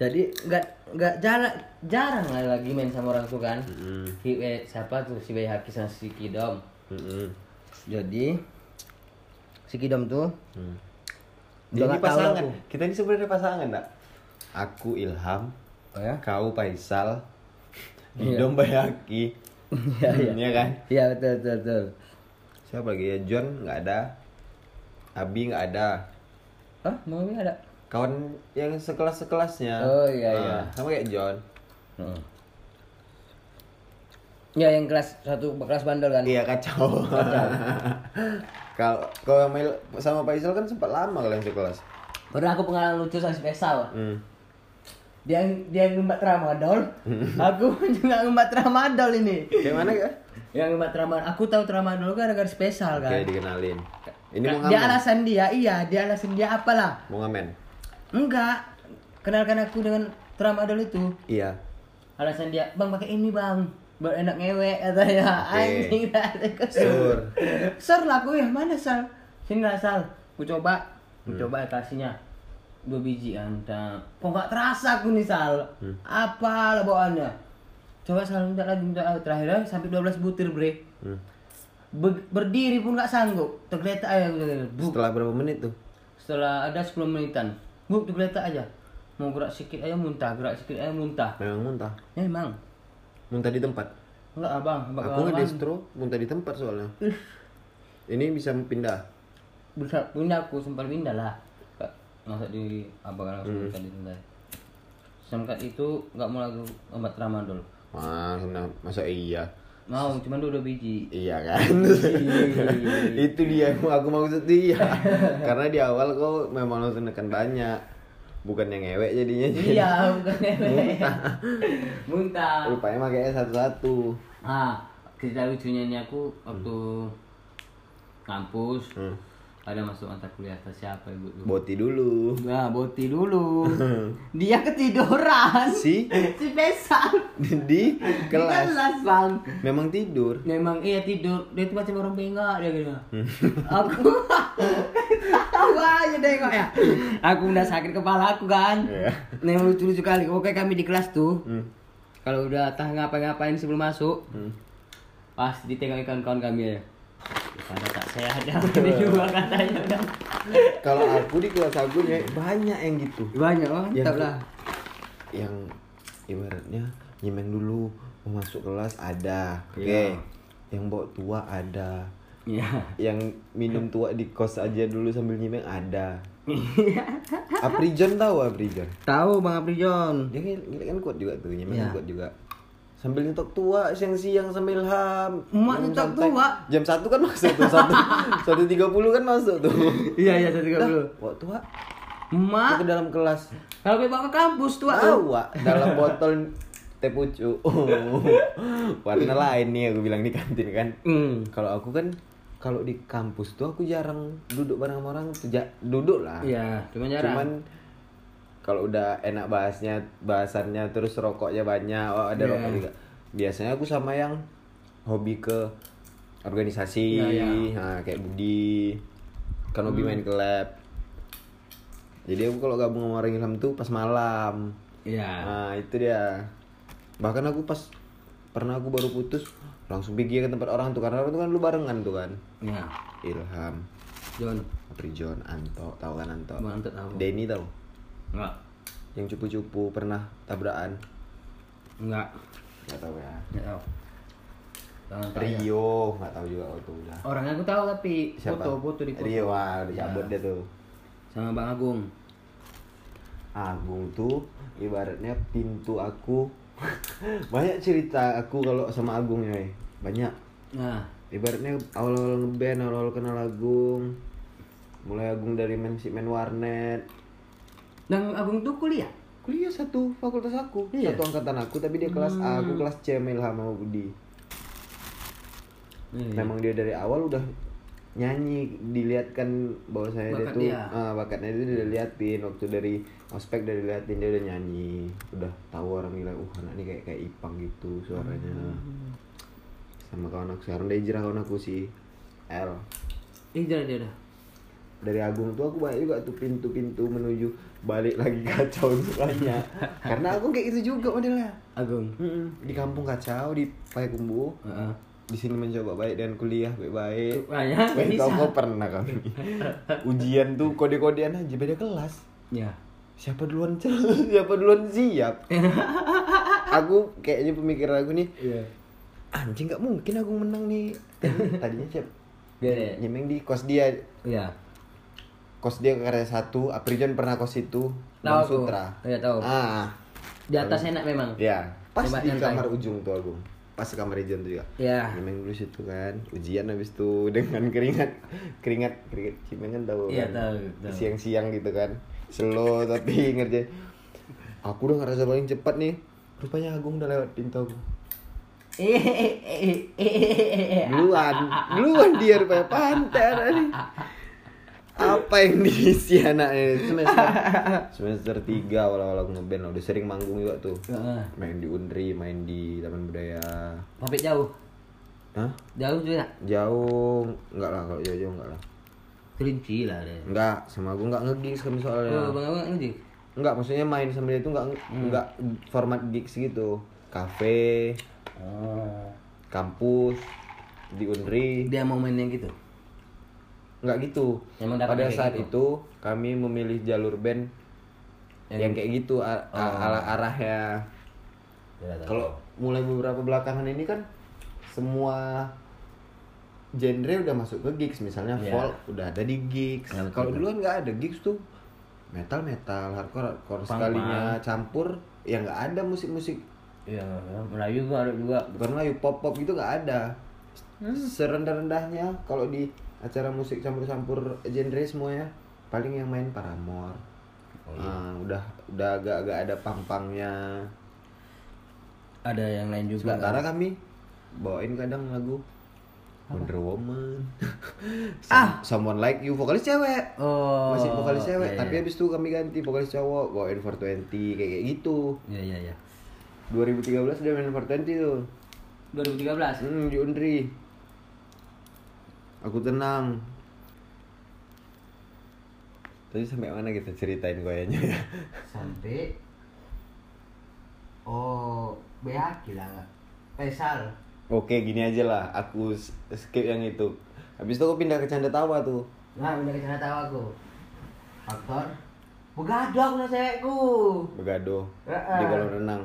B: jadi nggak nggak jarang jarang lah lagi main sama orang tuh kan Ki- eh, siapa tuh si Bayi Haki sama si Kidom
A: Hmm,
B: jadi si Kidom tuh
A: Dia ini
B: udah nggak tahu
A: pasangan.
B: aku.
A: Kita ini sebenarnya pasangan, Nak. Aku Ilham,
B: Oh ya?
A: kau Faisal, Didom Bayaki.
B: Iya,
A: Iya kan?
B: iya betul betul betul
A: Siapa lagi ya? John nggak ada. Abi nggak ada.
B: ah mau ini ada
A: Kawan yang sekelas-sekelasnya.
B: Oh, iya,
A: Ah,
B: iya.
A: Sama kayak John.
B: ya yang kelas satu kelas bandel kan
A: Iya kacau. (laughs) Kalau kalau sama Il- sama Faisal kan sempat lama kalian sekelas.
B: pernah aku pengalaman lucu sama si Faisal dia dia ngembat tramadol aku (laughs) juga ngembat tramadol ini
A: Kayak mana ya?
B: yang ngembat tramadol aku tahu tramadol kan gara-gara spesial
A: Kayak
B: kan
A: dikenalin. Ini mau
B: dia
A: ngamen.
B: alasan dia iya dia alasan dia apalah
A: Mau ngamen.
B: enggak kenalkan aku dengan tramadol itu
A: Iya.
B: alasan dia bang pakai ini bang buat enak ngewek katanya
A: Oke.
B: anjing (laughs) dah
A: Sur.
B: sar lah aku ya mana sal sini lah sal aku coba aku
A: Hmm.
B: coba kasihnya dua biji anta kok nggak terasa aku nih sal
A: Hmm.
B: apa lah bawaannya coba sal minta lagi minta lagi. terakhir sampai 12 butir bre
A: Hmm.
B: Be- berdiri pun nggak sanggup tergeletak aja Buk.
A: Setelah berapa menit tuh?
B: setelah ada 10 menitan buk tergeletak aja mau gerak sikit aja muntah gerak sikit aja muntah Ya,
A: Memang muntah.
B: memang
A: Muntah di tempat.
B: enggak abang abang kan
A: Aku nggak
B: abang.
A: distro, muntah di tempat soalnya. Ini bisa pindah.
B: bisa pindah aku sempat pindah lah Kak, masa di abang kan
A: Hmm.
B: langsung tadi pindah semkat itu nggak mau lagu obat tramadol
A: Wah, kena- masa iya?
B: mau cuman dua, dua biji
A: Iya kan? (laughs) Itu dia yang aku maksud dia. Karena di awal kau memang langsung nekan banyak. Bukan yang ngewek jadinya.
B: iya bukan muntah muntah
A: (laughs) Rupanya makanya satu-satu.
B: ah cerita lucunya ini aku waktu
A: Hmm.
B: kampus ada masuk antar kuliah ke siapa ibu dulu
A: Boti dulu.
B: nah boti dulu
A: Hmm.
B: dia ketiduran
A: (laughs) Si?
B: si pesan
A: Di kelas.
B: kelas bang
A: Memang tidur.
B: Memang iya tidur, dia tuh macam orang bengak dia gitu. aku tahu aja nengok ya. Aku udah sakit kepala aku kan.
A: Iya.
B: Nah, yang lucu-lucu kali. Oke, kami di kelas tuh. Kalau udah tah ngapa-ngapain sebelum masuk, pasti ditengok kawan-kawan kami ya. Karena tak sehat (laughs) ya, ini juga katanya kan. udah.
A: Kalau aku di kelas aku ya banyak yang gitu.
B: Banyak oh,
A: Yang-
B: mantap lah.
A: yang ibaratnya nyemen dulu mau masuk kelas ada oke
B: Iya.
A: yang bawa tua ada
B: Iya.
A: yang minum tua di kos aja dulu sambil nyimeng ada
B: Iya. (laughs)
A: Aprijon tahu Aprijon
B: Tahu Bang Aprijon.
A: dia kan, dia kan kuat juga tuh nyimeng
B: Iya.
A: kuat juga sambil nyetok tua siang-siang sambil ham
B: Emak
A: Jam
B: nyetok
A: santai.
B: tua?
A: jam satu kan masuk tuh
B: (laughs)
A: satu satu tiga puluh kan masuk tuh
B: Iya, iya, saya juga dulu.
A: bawa tua
B: Emak,
A: itu dalam kelas
B: kalau bawa ke kampus tuh. aku.
A: Bawa dalam botol teh pucuk. (laughs) Oh, Warna lain nih aku bilang di kantin kan.
B: Hmm.
A: Kalau aku kan kalau di kampus tuh aku jarang duduk bareng sama orang tuh ja- duduk lah.
B: Iya, cuman jarang.
A: Cuman kalau udah enak bahasnya bahasannya terus rokoknya banyak, oh, ada
B: Iya.
A: rokok juga. Biasanya aku sama yang hobi ke organisasi,
B: Iya, iya. Hmm.
A: Nah, kayak Budi. Kan hobi main ke lab. Jadi aku kalau gabung sama orang Ilham tuh pas malam.
B: Iya.
A: Nah itu dia. Bahkan aku pas pernah aku baru putus langsung pergi ke tempat orang tuh karena orang tuh kan lu barengan tuh kan.
B: Iya.
A: Ilham,
B: John,
A: Prijon, Anto, tahu kan Anto?
B: Bang Anto tahu.
A: Denny tahu?
B: Enggak.
A: Yang cupu-cupu pernah tabrakan.
B: Enggak.
A: Gak tahu ya.
B: Enggak tahu. Jangan tanya.
A: Rio, nggak tahu juga waktu udah.
B: Orangnya aku tahu tapi foto-foto di foto.
A: Rio, ah, udah cabut dia tuh.
B: Sama Bang Agung.
A: Agung tuh ibaratnya pintu aku. (laughs) banyak cerita aku kalau sama Agung ya, banyak.
B: Nah,
A: ibaratnya awal-awal ngeband awal-awal kenal Agung mulai Agung dari main si main warnet
B: Bang Agung tuh kuliah.
A: kuliah satu fakultas aku
B: Iya. Hmm.
A: satu angkatan aku tapi dia kelas A aku kelas C sama Ilham sama Budi
B: Iya.
A: memang dia dari awal udah nyanyi dilihatkan bahwa saya dia
B: Bakat
A: tuh
B: dia.
A: ah, bakatnya itu dilihatin waktu dari ospek dari liatin dia udah nyanyi udah tahu orang bilang uh anak ini kayak kayak Ipang gitu suaranya
B: Hmm.
A: sama kawan aku sekarang dia hijrah kawan aku si L
B: Ih, jalan dia dah.
A: dari Agung tuh aku banyak juga tuh pintu-pintu menuju balik lagi kacau tuh banyak karena aku kayak gitu juga modelnya
B: Agung.
A: Mm-mm. di kampung kacau di Payakumbuh
B: Heeh.
A: di sini mencoba baik dan kuliah baik-baik
B: Banyak
A: Wait,
B: bisa.
A: kok pernah kami ujian tuh kode-kodean aja beda kelas
B: Ya.
A: siapa duluan cer (laughs) siapa duluan siap aku kayaknya pemikiran aku nih
B: Iya.
A: anjing nggak mungkin aku menang nih tadinya siap
B: Gede.
A: nyemeng di kos dia
B: Iya.
A: kos dia ke karya satu Aprijon pernah kos itu
B: Tahu
A: Bang
B: aku. Iya, tahu.
A: ah
B: Di atas enak memang.
A: ya pas
B: Coba
A: di
B: nyantai.
A: kamar ujung tuh aku pas di kamar Ijon tuh juga
B: Iya.
A: nyemeng dulu situ kan ujian habis itu (laughs) dengan keringat keringat keringat cimeng kan tahu
B: Iya,
A: kan
B: tahu, tahu.
A: siang-siang gitu kan slow (laughs) tapi ngerjain aku udah ngerasa paling cepat nih rupanya Agung udah lewat pintu aku
B: Eh, eh, eh, eh, eh, eh, eh.
A: duluan duluan dia rupanya panter nih apa yang diisi anaknya semester semester tiga awal awal aku ngeband lah. udah sering manggung juga tuh
B: Heeh.
A: main di Unri main di Taman Budaya
B: Tapi jauh.
A: Hah?
B: Jauh juga.
A: jauh enggak lah kalau jauh jauh enggak lah
B: Kelinci lah deh.
A: enggak sama aku enggak ngegis kami
B: Oh,
A: soalnya
B: bang abang ini.
A: enggak maksudnya main sama dia tuh enggak enggak format gigs gitu kafe Ah.
B: Oh.
A: kampus di Unri
B: Dia mau main yang gitu.
A: nggak gitu
B: Emang dapat
A: pada
B: kayak
A: saat
B: gitu?
A: itu kami memilih jalur band
B: Yang- Oh.
A: yang, kayak gitu a- a- ala arahnya
B: Iya,
A: kalau mulai beberapa belakangan ini kan semua genre udah masuk ke gigs misalnya
B: Iya.
A: folk udah ada di gigs
B: Ya, betul,
A: kalau
B: betul.
A: dulu kan nggak ada gigs tuh metal metal hardcore hardcore
B: Punk,
A: sekalinya campur ya nggak ada musik musik
B: Iya, ya, Melayu juga ada juga.
A: bukan Melayu pop pop gitu nggak ada
B: Hmm.
A: serendah rendahnya kalau di acara musik campur campur genre semuanya paling yang main Paramore Ah, udah udah agak agak ada pang-pangnya
B: Ada yang lain juga.
A: sementara kami bawain kadang lagu Wonder
B: (laughs)
A: Woman
B: Ah!
A: ah Someone Like You vokalis cewek
B: Oh.
A: masih vokalis cewek
B: iya,
A: tapi
B: iya.
A: habis itu kami ganti vokalis cowok bawain 420 kayak kayak gitu
B: Iya, iya, iya.
A: 2013 dia main 420 tuh
B: 2013.
A: Hmm, di Undri. Aku tenang. Tadi sampai mana kita ceritain goyanya ya? (laughs)
B: Sampai Oh, BH gila nggak? Eh, Pesal.
A: Oke, gini aja lah. Aku s- skip yang itu. Habis itu aku pindah ke Canda Tawa tuh.
B: Nah, udah kesana tahu aku. Faktor Begaduh aku sama cewekku.
A: Begado
B: Heeh.
A: di kolam renang.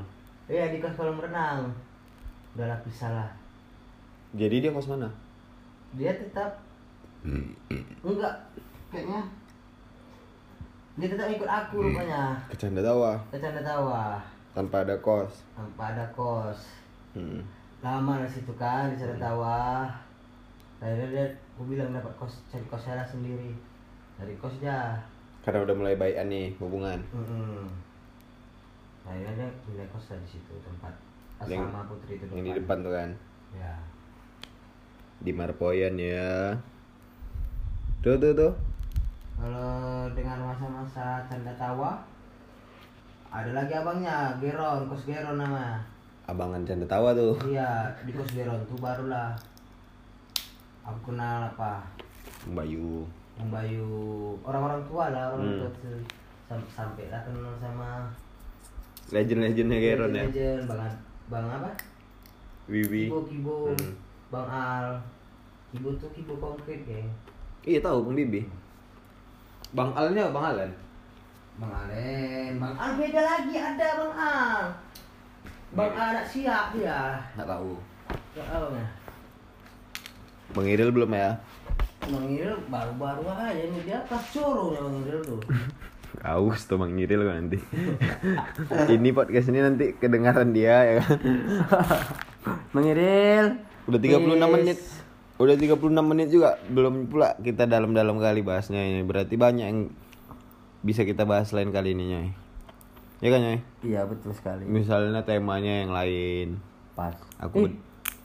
B: Iya, di kelas kolam renang. Udah lah pisah lah.
A: Jadi dia kos mana?
B: dia tetap enggak kayaknya dia tetap ikut aku
A: Mm.
B: rupanya
A: Ke Canda Tawa
B: bercanda tawa
A: tanpa ada kos.
B: tanpa ada kos
A: Hmm.
B: lama di situ kan bercanda
A: Mm.
B: tawa akhirnya dia aku bilang dapat kos cari kos saya sendiri dari kos dia
A: Karena udah mulai baikan nih hubungan.
B: Mm-mm. akhirnya dia pindah kos dari situ tempat
A: Yang-
B: asrama putri itu
A: Yang di depan tuh kan.
B: ya
A: Di Marpoyan ya. Tuh tuh tuh.
B: kalau dengan masa-masa canda tawa ada lagi abangnya Geron kos Geron nama
A: Abangan Canda Tawa tuh.
B: Iya, di kos Deron tuh barulah aku kenal apa
A: Bayu.
B: Om Bayu orang-orang tua lah orang
A: Hmm.
B: tua tuh sampai sampai lah kenal sama
A: Legend-legendnya Geron ya.
B: legend bang Ad- bang apa
A: Wiwi.
B: Kibo Kibo
A: Hmm.
B: bang Al Kibo tuh Kibo konkret geng
A: Iya tahu Bang Bibi. Bang Alnya Bang Alan.
B: Bang Alen Bang Al beda lagi ada Bang Al Bang
A: Iya.
B: Al anak siap dia
A: Enggak tahu.
B: Bang Al
A: Bang Iril belum ya?
B: Bang Iril baru-baru aja nih dia pas coro ya Bang Iril tuh
A: Aus tuh Bang Iril kok nanti. (laughs) ini podcast ini nanti kedengaran dia ya kan.
B: (laughs) Mengiril.
A: Udah 36 menit. Udah 36 menit juga belum pula kita dalam-dalam kali bahasnya ini. Berarti banyak yang bisa kita bahas lain kali ini, Nyai. Ya kan, Nyai?
B: Iya betul sekali.
A: Misalnya temanya yang lain.
B: Pas.
A: Aku-
B: Ih,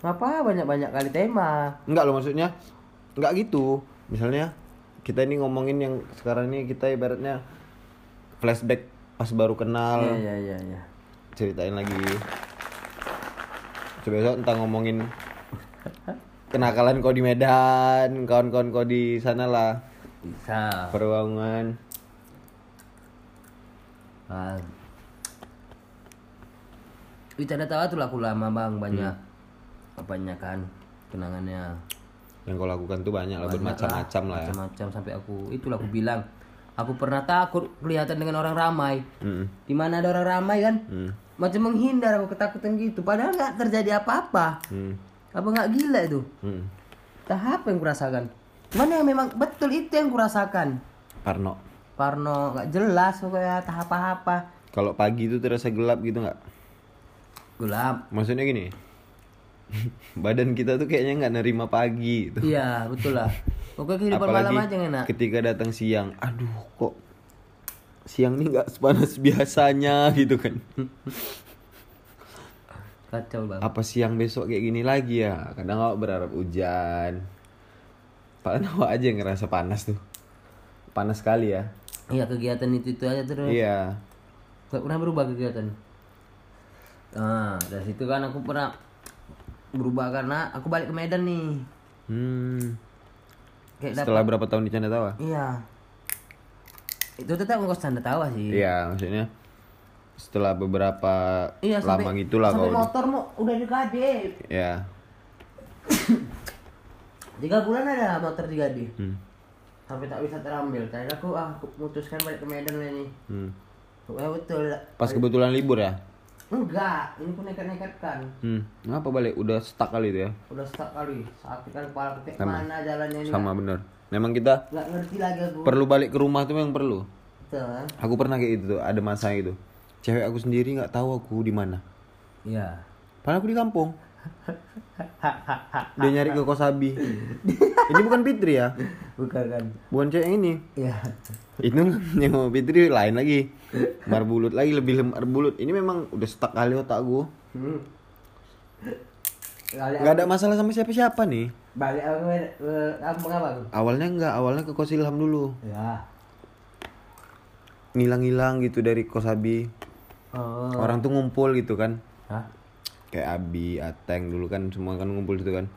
B: apa banyak-banyak kali tema?
A: Enggak loh maksudnya Enggak gitu Misalnya Kita ini ngomongin yang sekarang ini kita ibaratnya Flashback pas baru kenal
B: Iya iya iya. iya.
A: Ceritain lagi Coba besok entah ngomongin Kenakalan kau di Medan Kawan-kawan kau di sana lah
B: bisa
A: Perwaungan.
B: bang Wita tawa tuh laku lama bang banyak
A: Hmm.
B: banyak kan kenangannya
A: Yang kau lakukan tuh banyak lah bermacam-macam lah ya.
B: macam-macam sampai aku itulah aku bilang aku pernah takut kelihatan dengan orang ramai
A: Mm-mm.
B: di mana ada orang ramai kan
A: Mm.
B: macam menghindar aku ketakutan gitu padahal nggak terjadi apa-apa
A: Mm.
B: apa nggak gila itu
A: Mm.
B: tahap yang kurasakan mana yang memang betul itu yang kurasakan
A: Parno.
B: Parno nggak jelas pokoknya tahap apa
A: Kalau pagi tuh terasa gelap gitu nggak?
B: gelap
A: Maksudnya gini. (laughs) badan kita tuh kayaknya nggak nerima pagi gitu.
B: iya betul
A: (laughs)
B: lah pokoknya kehidupan
A: Apalagi
B: malam aja yang enak
A: ketika datang siang. Aduh kok siang nih nggak sepanas biasanya (laughs) gitu kan.
B: kacau banget
A: Apa siang besok kayak gini lagi ya? Kadang awak berharap hujan. Padahal (laughs) awak aja yang ngerasa panas tuh. Panas sekali ya.
B: iya kegiatan itu itu aja terus
A: Iya.
B: Gak pernah berubah kegiatan. Nah, dari situ kan aku pernah berubah karena aku balik ke Medan nih.
A: Hmm.
B: Kayak dapat
A: Setelah berapa tahun di Canda Tawa?
B: iya. Itu tetap ngekos tanda tawa sih.
A: Iya, maksudnya setelah beberapa lama
B: Iya, sampai-
A: gitulah
B: sampai
A: kau.
B: motor mau udah digade.
A: Ya.
B: Tiga bulan ada motor digade.
A: Hmm.
B: Sampai tak bisa terambil. Tadi aku ah aku memutuskan balik ke Medan lah ini.
A: Hmm.
B: Ya betul.
A: Pas kebetulan libur ya?
B: Enggak, ini pun nekat-nekat kan.
A: Hmm. Ngapa balik? Udah stuck kali itu ya.
B: Udah stuck kali. Sakit kan kepala aku kayak
A: Sama.
B: mana jalannya ini.
A: Sama bener. Memang kita
B: Enggak ngerti lagi aku.
A: perlu balik ke rumah tuh yang perlu.
B: Betul. kan?
A: Aku pernah kayak gitu tuh, ada masa itu. Cewek aku sendiri nggak tahu aku di mana.
B: Iya.
A: Padahal aku di kampung. Dia nyari ke Kosabi. ini bukan Fitri ya.
B: Bukan kan.
A: Bukan cewek yang ini.
B: Iya.
A: itu (laughs) yang mau Fitri lain lagi. Marbulut lagi lebih lemar bulut. Ini memang udah stuck kali otak gua.
B: Hmm. Balik
A: Nggak ada masalah sama siapa-siapa nih.
B: balik aku ke kampung apa aku?
A: Awalnya nggak, awalnya ke kos Ilham dulu.
B: Ya.
A: Ngilang-ngilang gitu dari kos Abi.
B: Oh.
A: Orang tuh ngumpul gitu kan.
B: Hah?
A: Kayak Abi, Ateng dulu kan semua kan ngumpul gitu kan.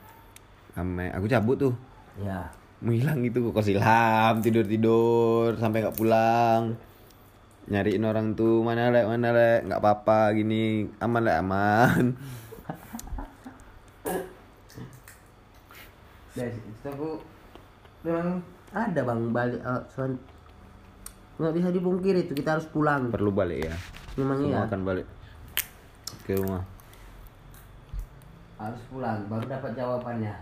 A: Ame, aku cabut tuh.
B: Ya.
A: Menghilang gitu ke kos Ilham, tidur-tidur sampai nggak pulang. Nyariin orang tuh mana lek, mana lek, nggak apa-apa gini, aman lek, aman. (laughs)
B: Dari situ aku memang ada bang balik eh, cuman nggak bisa dipungkiri itu kita harus pulang.
A: Perlu balik ya.
B: Memang iya.
A: Semua akan balik ke rumah.
B: harus pulang baru dapat (laughs) jawabannya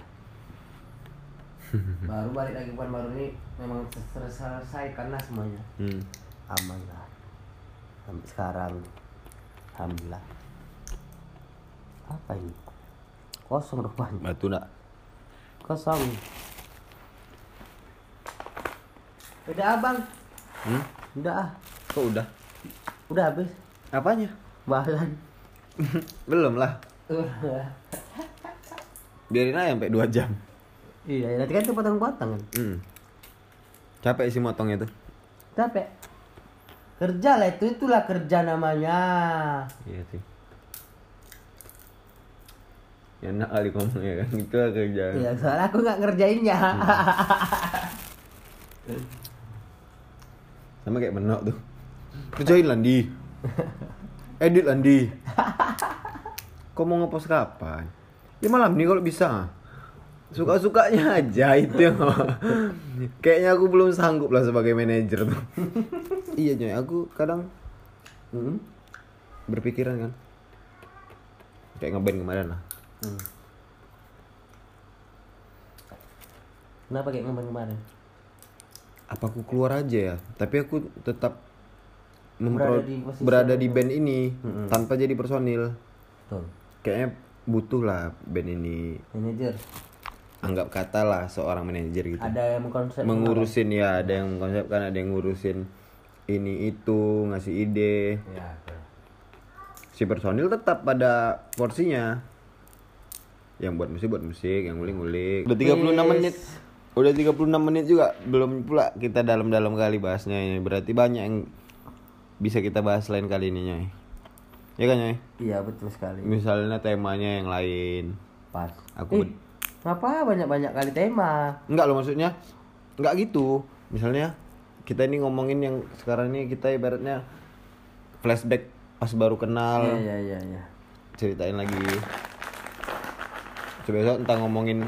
B: baru balik lagi bulan baru ini memang selesai karena semuanya
A: Hmm.
B: aman lah sampai sekarang alhamdulillah apa ini kosong rumahnya
A: Batu nak.
B: kosong udah abang
A: Hmm?
B: udah ah.
A: Kok udah?
B: udah habis
A: Apanya?
B: bahan
A: Belum lah. Biarin aja sampai 2 jam.
B: iya nanti kan itu potong-potong kan
A: Hmm. Capek sih motongnya tuh.
B: capek kerja lah itu itulah kerja namanya
A: Iya sih. Ya enak kali ngomongnya kan gitu lah kerja.
B: ya soalnya aku nggak ngerjainnya
A: Sama kayak menok tuh. Kerjain Landi. Edit Landi. Kok mau ngepost kapan? Ya malam nih kalau bisa. Suka-sukanya aja itu. Kayaknya aku belum sanggup lah sebagai manajer tuh. iya Joy, aku kadang
B: (laughs) Hmm?
A: berpikiran kan kayak ngeband kemarin lah
B: kenapa kayak ngomong kemarin
A: apa aku keluar aja ya tapi aku tetap
B: Berada
A: mempro-
B: di posisi
A: berada di band ini tanpa jadi personil
B: tuh
A: kayaknya butuh lah band ini
B: manajer
A: anggap kata lah seorang manajer gitu
B: ada yang konsep
A: mengurusin ya ada yang konsepkan ada yang ngurusin ini itu ngasih ide
B: ya
A: si personil tetap pada porsinya yang buat musik buat musik yang ngulik-ngulik udah 36 menit udah 36 menit juga belum pula kita dalam-dalam kali bahasnya ini berarti banyak yang bisa kita bahas lain kali ini Nyai ya kan Nyai
B: iya betul sekali
A: misalnya temanya yang lain
B: pas
A: aku
B: Ih, ngapa banyak banyak kali tema
A: enggak loh maksudnya enggak gitu misalnya kita ini ngomongin yang sekarang ini kita ibaratnya flashback pas baru kenal
B: Iya iya iya. iya.
A: ceritain lagi coba besok tentang ngomongin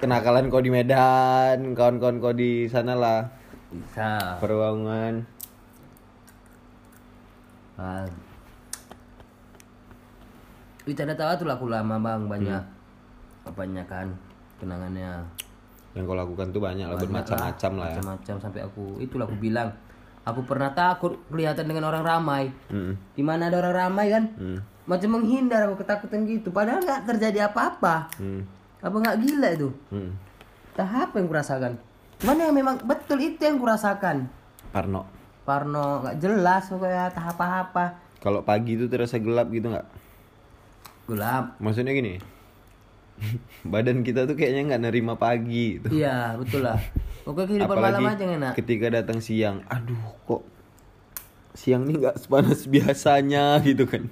A: kenakalan kau di Medan kawan-kawan kau di sana lah
B: Bisa.
A: perwangan
B: Bang. Wih tanda tawa tuh laku lama bang banyak.
A: Hmm.
B: Banyak kan kenangannya.
A: yang kau lakukan tuh banyak lah bermacam-macam lah ya
B: Macam-macam sampai aku itulah aku bilang. Aku pernah takut kelihatan dengan orang ramai.
A: Mm.
B: Di mana ada orang ramai kan?
A: Hmm.
B: Macam menghindar aku ketakutan gitu. Padahal nggak terjadi apa-apa.
A: Hmm.
B: Apa nggak gila itu?
A: Hmm.
B: Tahap yang kurasakan. Mana yang memang betul itu yang kurasakan.
A: Parno
B: Parno nggak jelas pokoknya tahap apa-apa.
A: kalau pagi tuh terasa gelap gitu nggak
B: Gelap.
A: maksudnya gini (laughs) badan kita tuh kayaknya nggak nerima pagi gitu
B: Iya, betul lah. Pokoknya kehidupan malam aja yang enak.
A: ketika datang siang aduh kok siang nih nggak sepanas biasanya gitu kan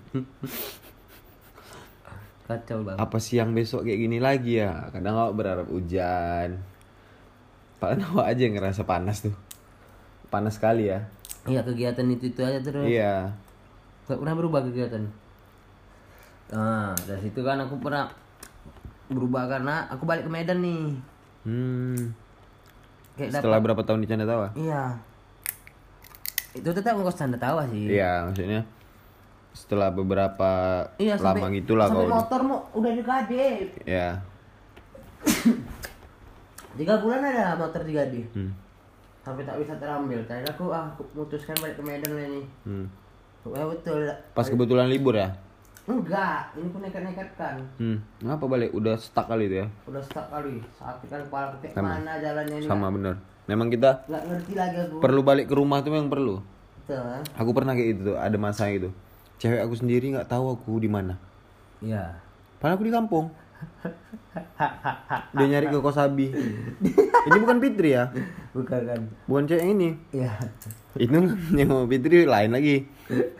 B: Kacau banget.
A: apa siang besok kayak gini lagi ya kadang awak berharap hujan padahal (laughs) awak aja yang ngerasa panas tuh panas sekali ya
B: Iya, kegiatan itu itu aja terus.
A: iya
B: Gak pernah berubah kegiatan. Nah, dari situ kan aku pernah berubah karena aku balik ke Medan nih.
A: hmm.
B: Kayak dapat
A: setelah berapa tahun di Canda Tawa
B: iya. Itu tetap ngekos tanda tawa sih.
A: iya maksudnya setelah beberapa lama
B: Iya, sampai-
A: gitulah
B: sampai
A: kau
B: motor mau udah digade.
A: ya
B: Tiga bulan ada motor digade.
A: Hmm.
B: Sampai tak bisa terambil. Tadi aku ah aku memutuskan balik ke Medan lah ini.
A: Hmm.
B: Ya betul.
A: pas kebetulan libur ya
B: Enggak, ini aku nekat-nekat kan.
A: hmm. kenapa balik udah stuck kali itu ya
B: Udah stuck kali, sakit kan kepala aku kayak mana jalannya ini.
A: sama bener memang kita
B: Enggak ngerti lagi aku.
A: perlu balik ke rumah tuh yang perlu
B: Betul. kan?
A: aku pernah kayak gitu tuh, ada masa gitu cewek aku sendiri nggak tahu aku di mana
B: Iya.
A: Padahal aku di kampung. Dia nyari ke Kosabi. ini bukan Fitri ya.
B: Bukan kan.
A: Bukan cewek yang ini.
B: Iya.
A: Itu yang sama Fitri lain lagi.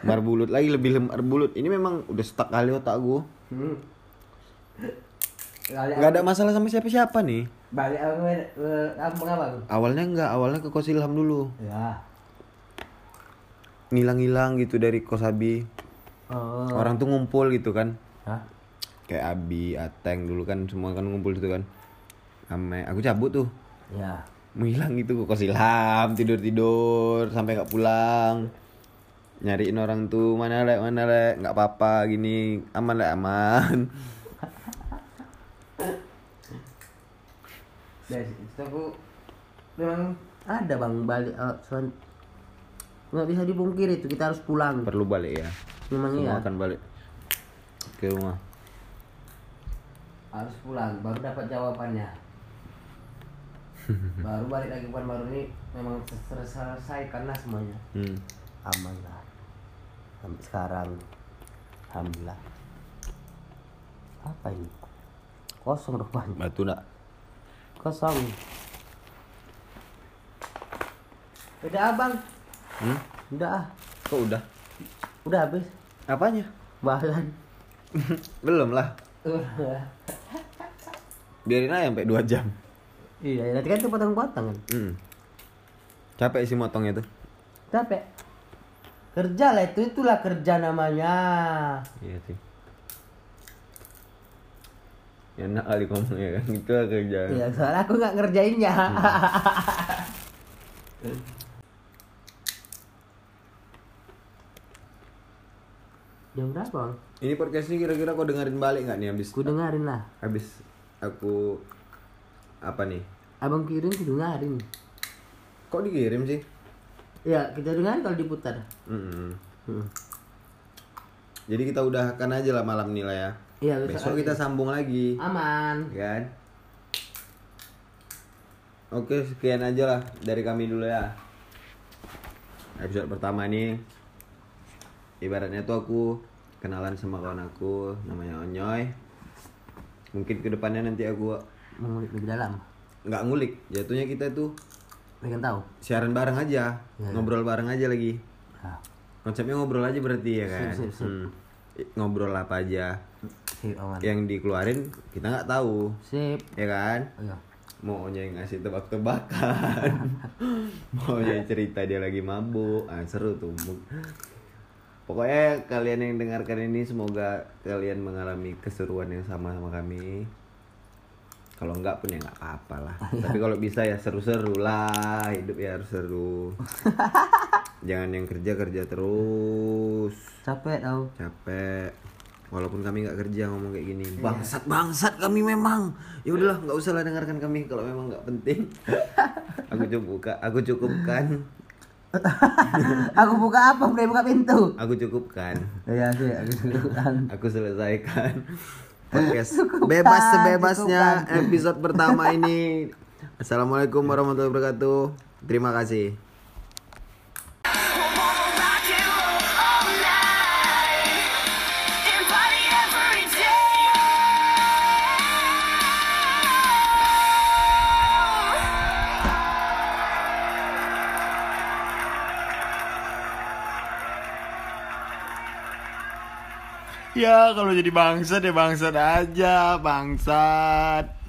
A: Marbulut lagi lebih lemar bulut. Ini memang udah stuck kali otak gua.
B: Hmm. Balik
A: Gak ada masalah sama siapa-siapa nih.
B: balik aku ke ke kampung apa aku?
A: Awalnya enggak, awalnya ke Kos Ilham dulu.
B: Ya.
A: Ngilang-ngilang gitu dari Kosabi.
B: Oh.
A: Orang tuh ngumpul gitu kan.
B: Hah?
A: Kayak Abi, Ateng dulu kan semua kan ngumpul gitu kan. Ame, aku cabut tuh.
B: Ya.
A: menghilang gitu ke kos ilham tidur tidur sampai nggak pulang nyariin orang tuh mana lek mana lek nggak apa apa gini aman lek aman (laughs)
B: Dari situ aku memang ada bang balik eh, soal- nggak bisa dipungkiri itu kita harus pulang
A: perlu balik ya
B: memang iya
A: semua kan- akan balik ke rumah
B: harus pulang baru dapat
A: (laughs)
B: jawabannya baru balik lagi bukan baru ini memang terselesaikan lah semuanya
A: hmm.
B: aman lah sampai sekarang alhamdulillah apa ini kosong rumahnya
A: batu nak
B: kosong udah abang
A: hmm?
B: udah ah.
A: kok udah
B: udah habis
A: apanya
B: bahan
A: belum lah biarin aja sampai dua jam
B: iya nanti kan itu potong-potong kan
A: hmm. capek sih motongnya tuh
B: capek kerja lah itu itulah kerja namanya
A: iya sih enak kali ngomongnya kan gitu lah kerjaan
B: ya soalnya aku nggak ngerjainnya Hmm. jam berapa bang?
A: Ini podcast ini kira-kira kau dengerin balik nggak nih habis
B: aku dengerin lah
A: habis aku apa nih?
B: abang kirim aku dengerin
A: Kok dikirim sih?
B: ya kita dengerin kalau diputar
A: Mm-mm.
B: Hmm.
A: Jadi kita udahkan aja lah malam ini lah ya.
B: iya
A: Besok
B: besok
A: kita sambung lagi,
B: aman
A: kan? Oke sekian aja lah dari kami dulu ya. Episode pertama ini ibaratnya tuh aku kenalan sama kawan aku namanya Onyoy. Mungkin kedepannya nanti aku
B: mengulik lebih dalam
A: nggak ngulik jatuhnya kita tuh
B: pengen tahu
A: siaran bareng aja
B: Iya.
A: ngobrol bareng aja lagi
B: nah,
A: konsepnya ngobrol aja berarti ya kan
B: Sip, sip, sip.
A: Hmm. I- ngobrol apa aja
B: sip aman
A: Ya. yang dikeluarin kita nggak tahu
B: sip
A: ya kan
B: oh, iya.
A: maunya yang ngasih tebak-tebakan (laughs) maunya cerita dia lagi mabuk ah seru tuh pokoknya kalian yang dengarkan ini semoga kalian mengalami keseruan yang sama sama kami kalau enggak pun ya nggak apa-apa lah tapi kalau bisa ya seru-seru lah hidup ya harus seru jangan yang kerja kerja terus
C: capek
B: (laughs)
C: tau
A: capek walaupun kami nggak kerja ngomong kayak gini bangsat bangsat kami memang ya udahlah nggak usah lah dengarkan kami kalau memang nggak penting aku cukup aku cukupkan
C: aku buka apa bre buka pintu
A: aku cukupkan
C: ya
B: Iya,
C: sih aku
B: kan.
C: suruhkan
A: aku selesaikan podcast bebas sebebasnya episode pertama ini. Assalamualaikum warahmatullahi wabarakatuh. Terima kasih. Ya kalau jadi bangsat ya bangsat aja bangsat.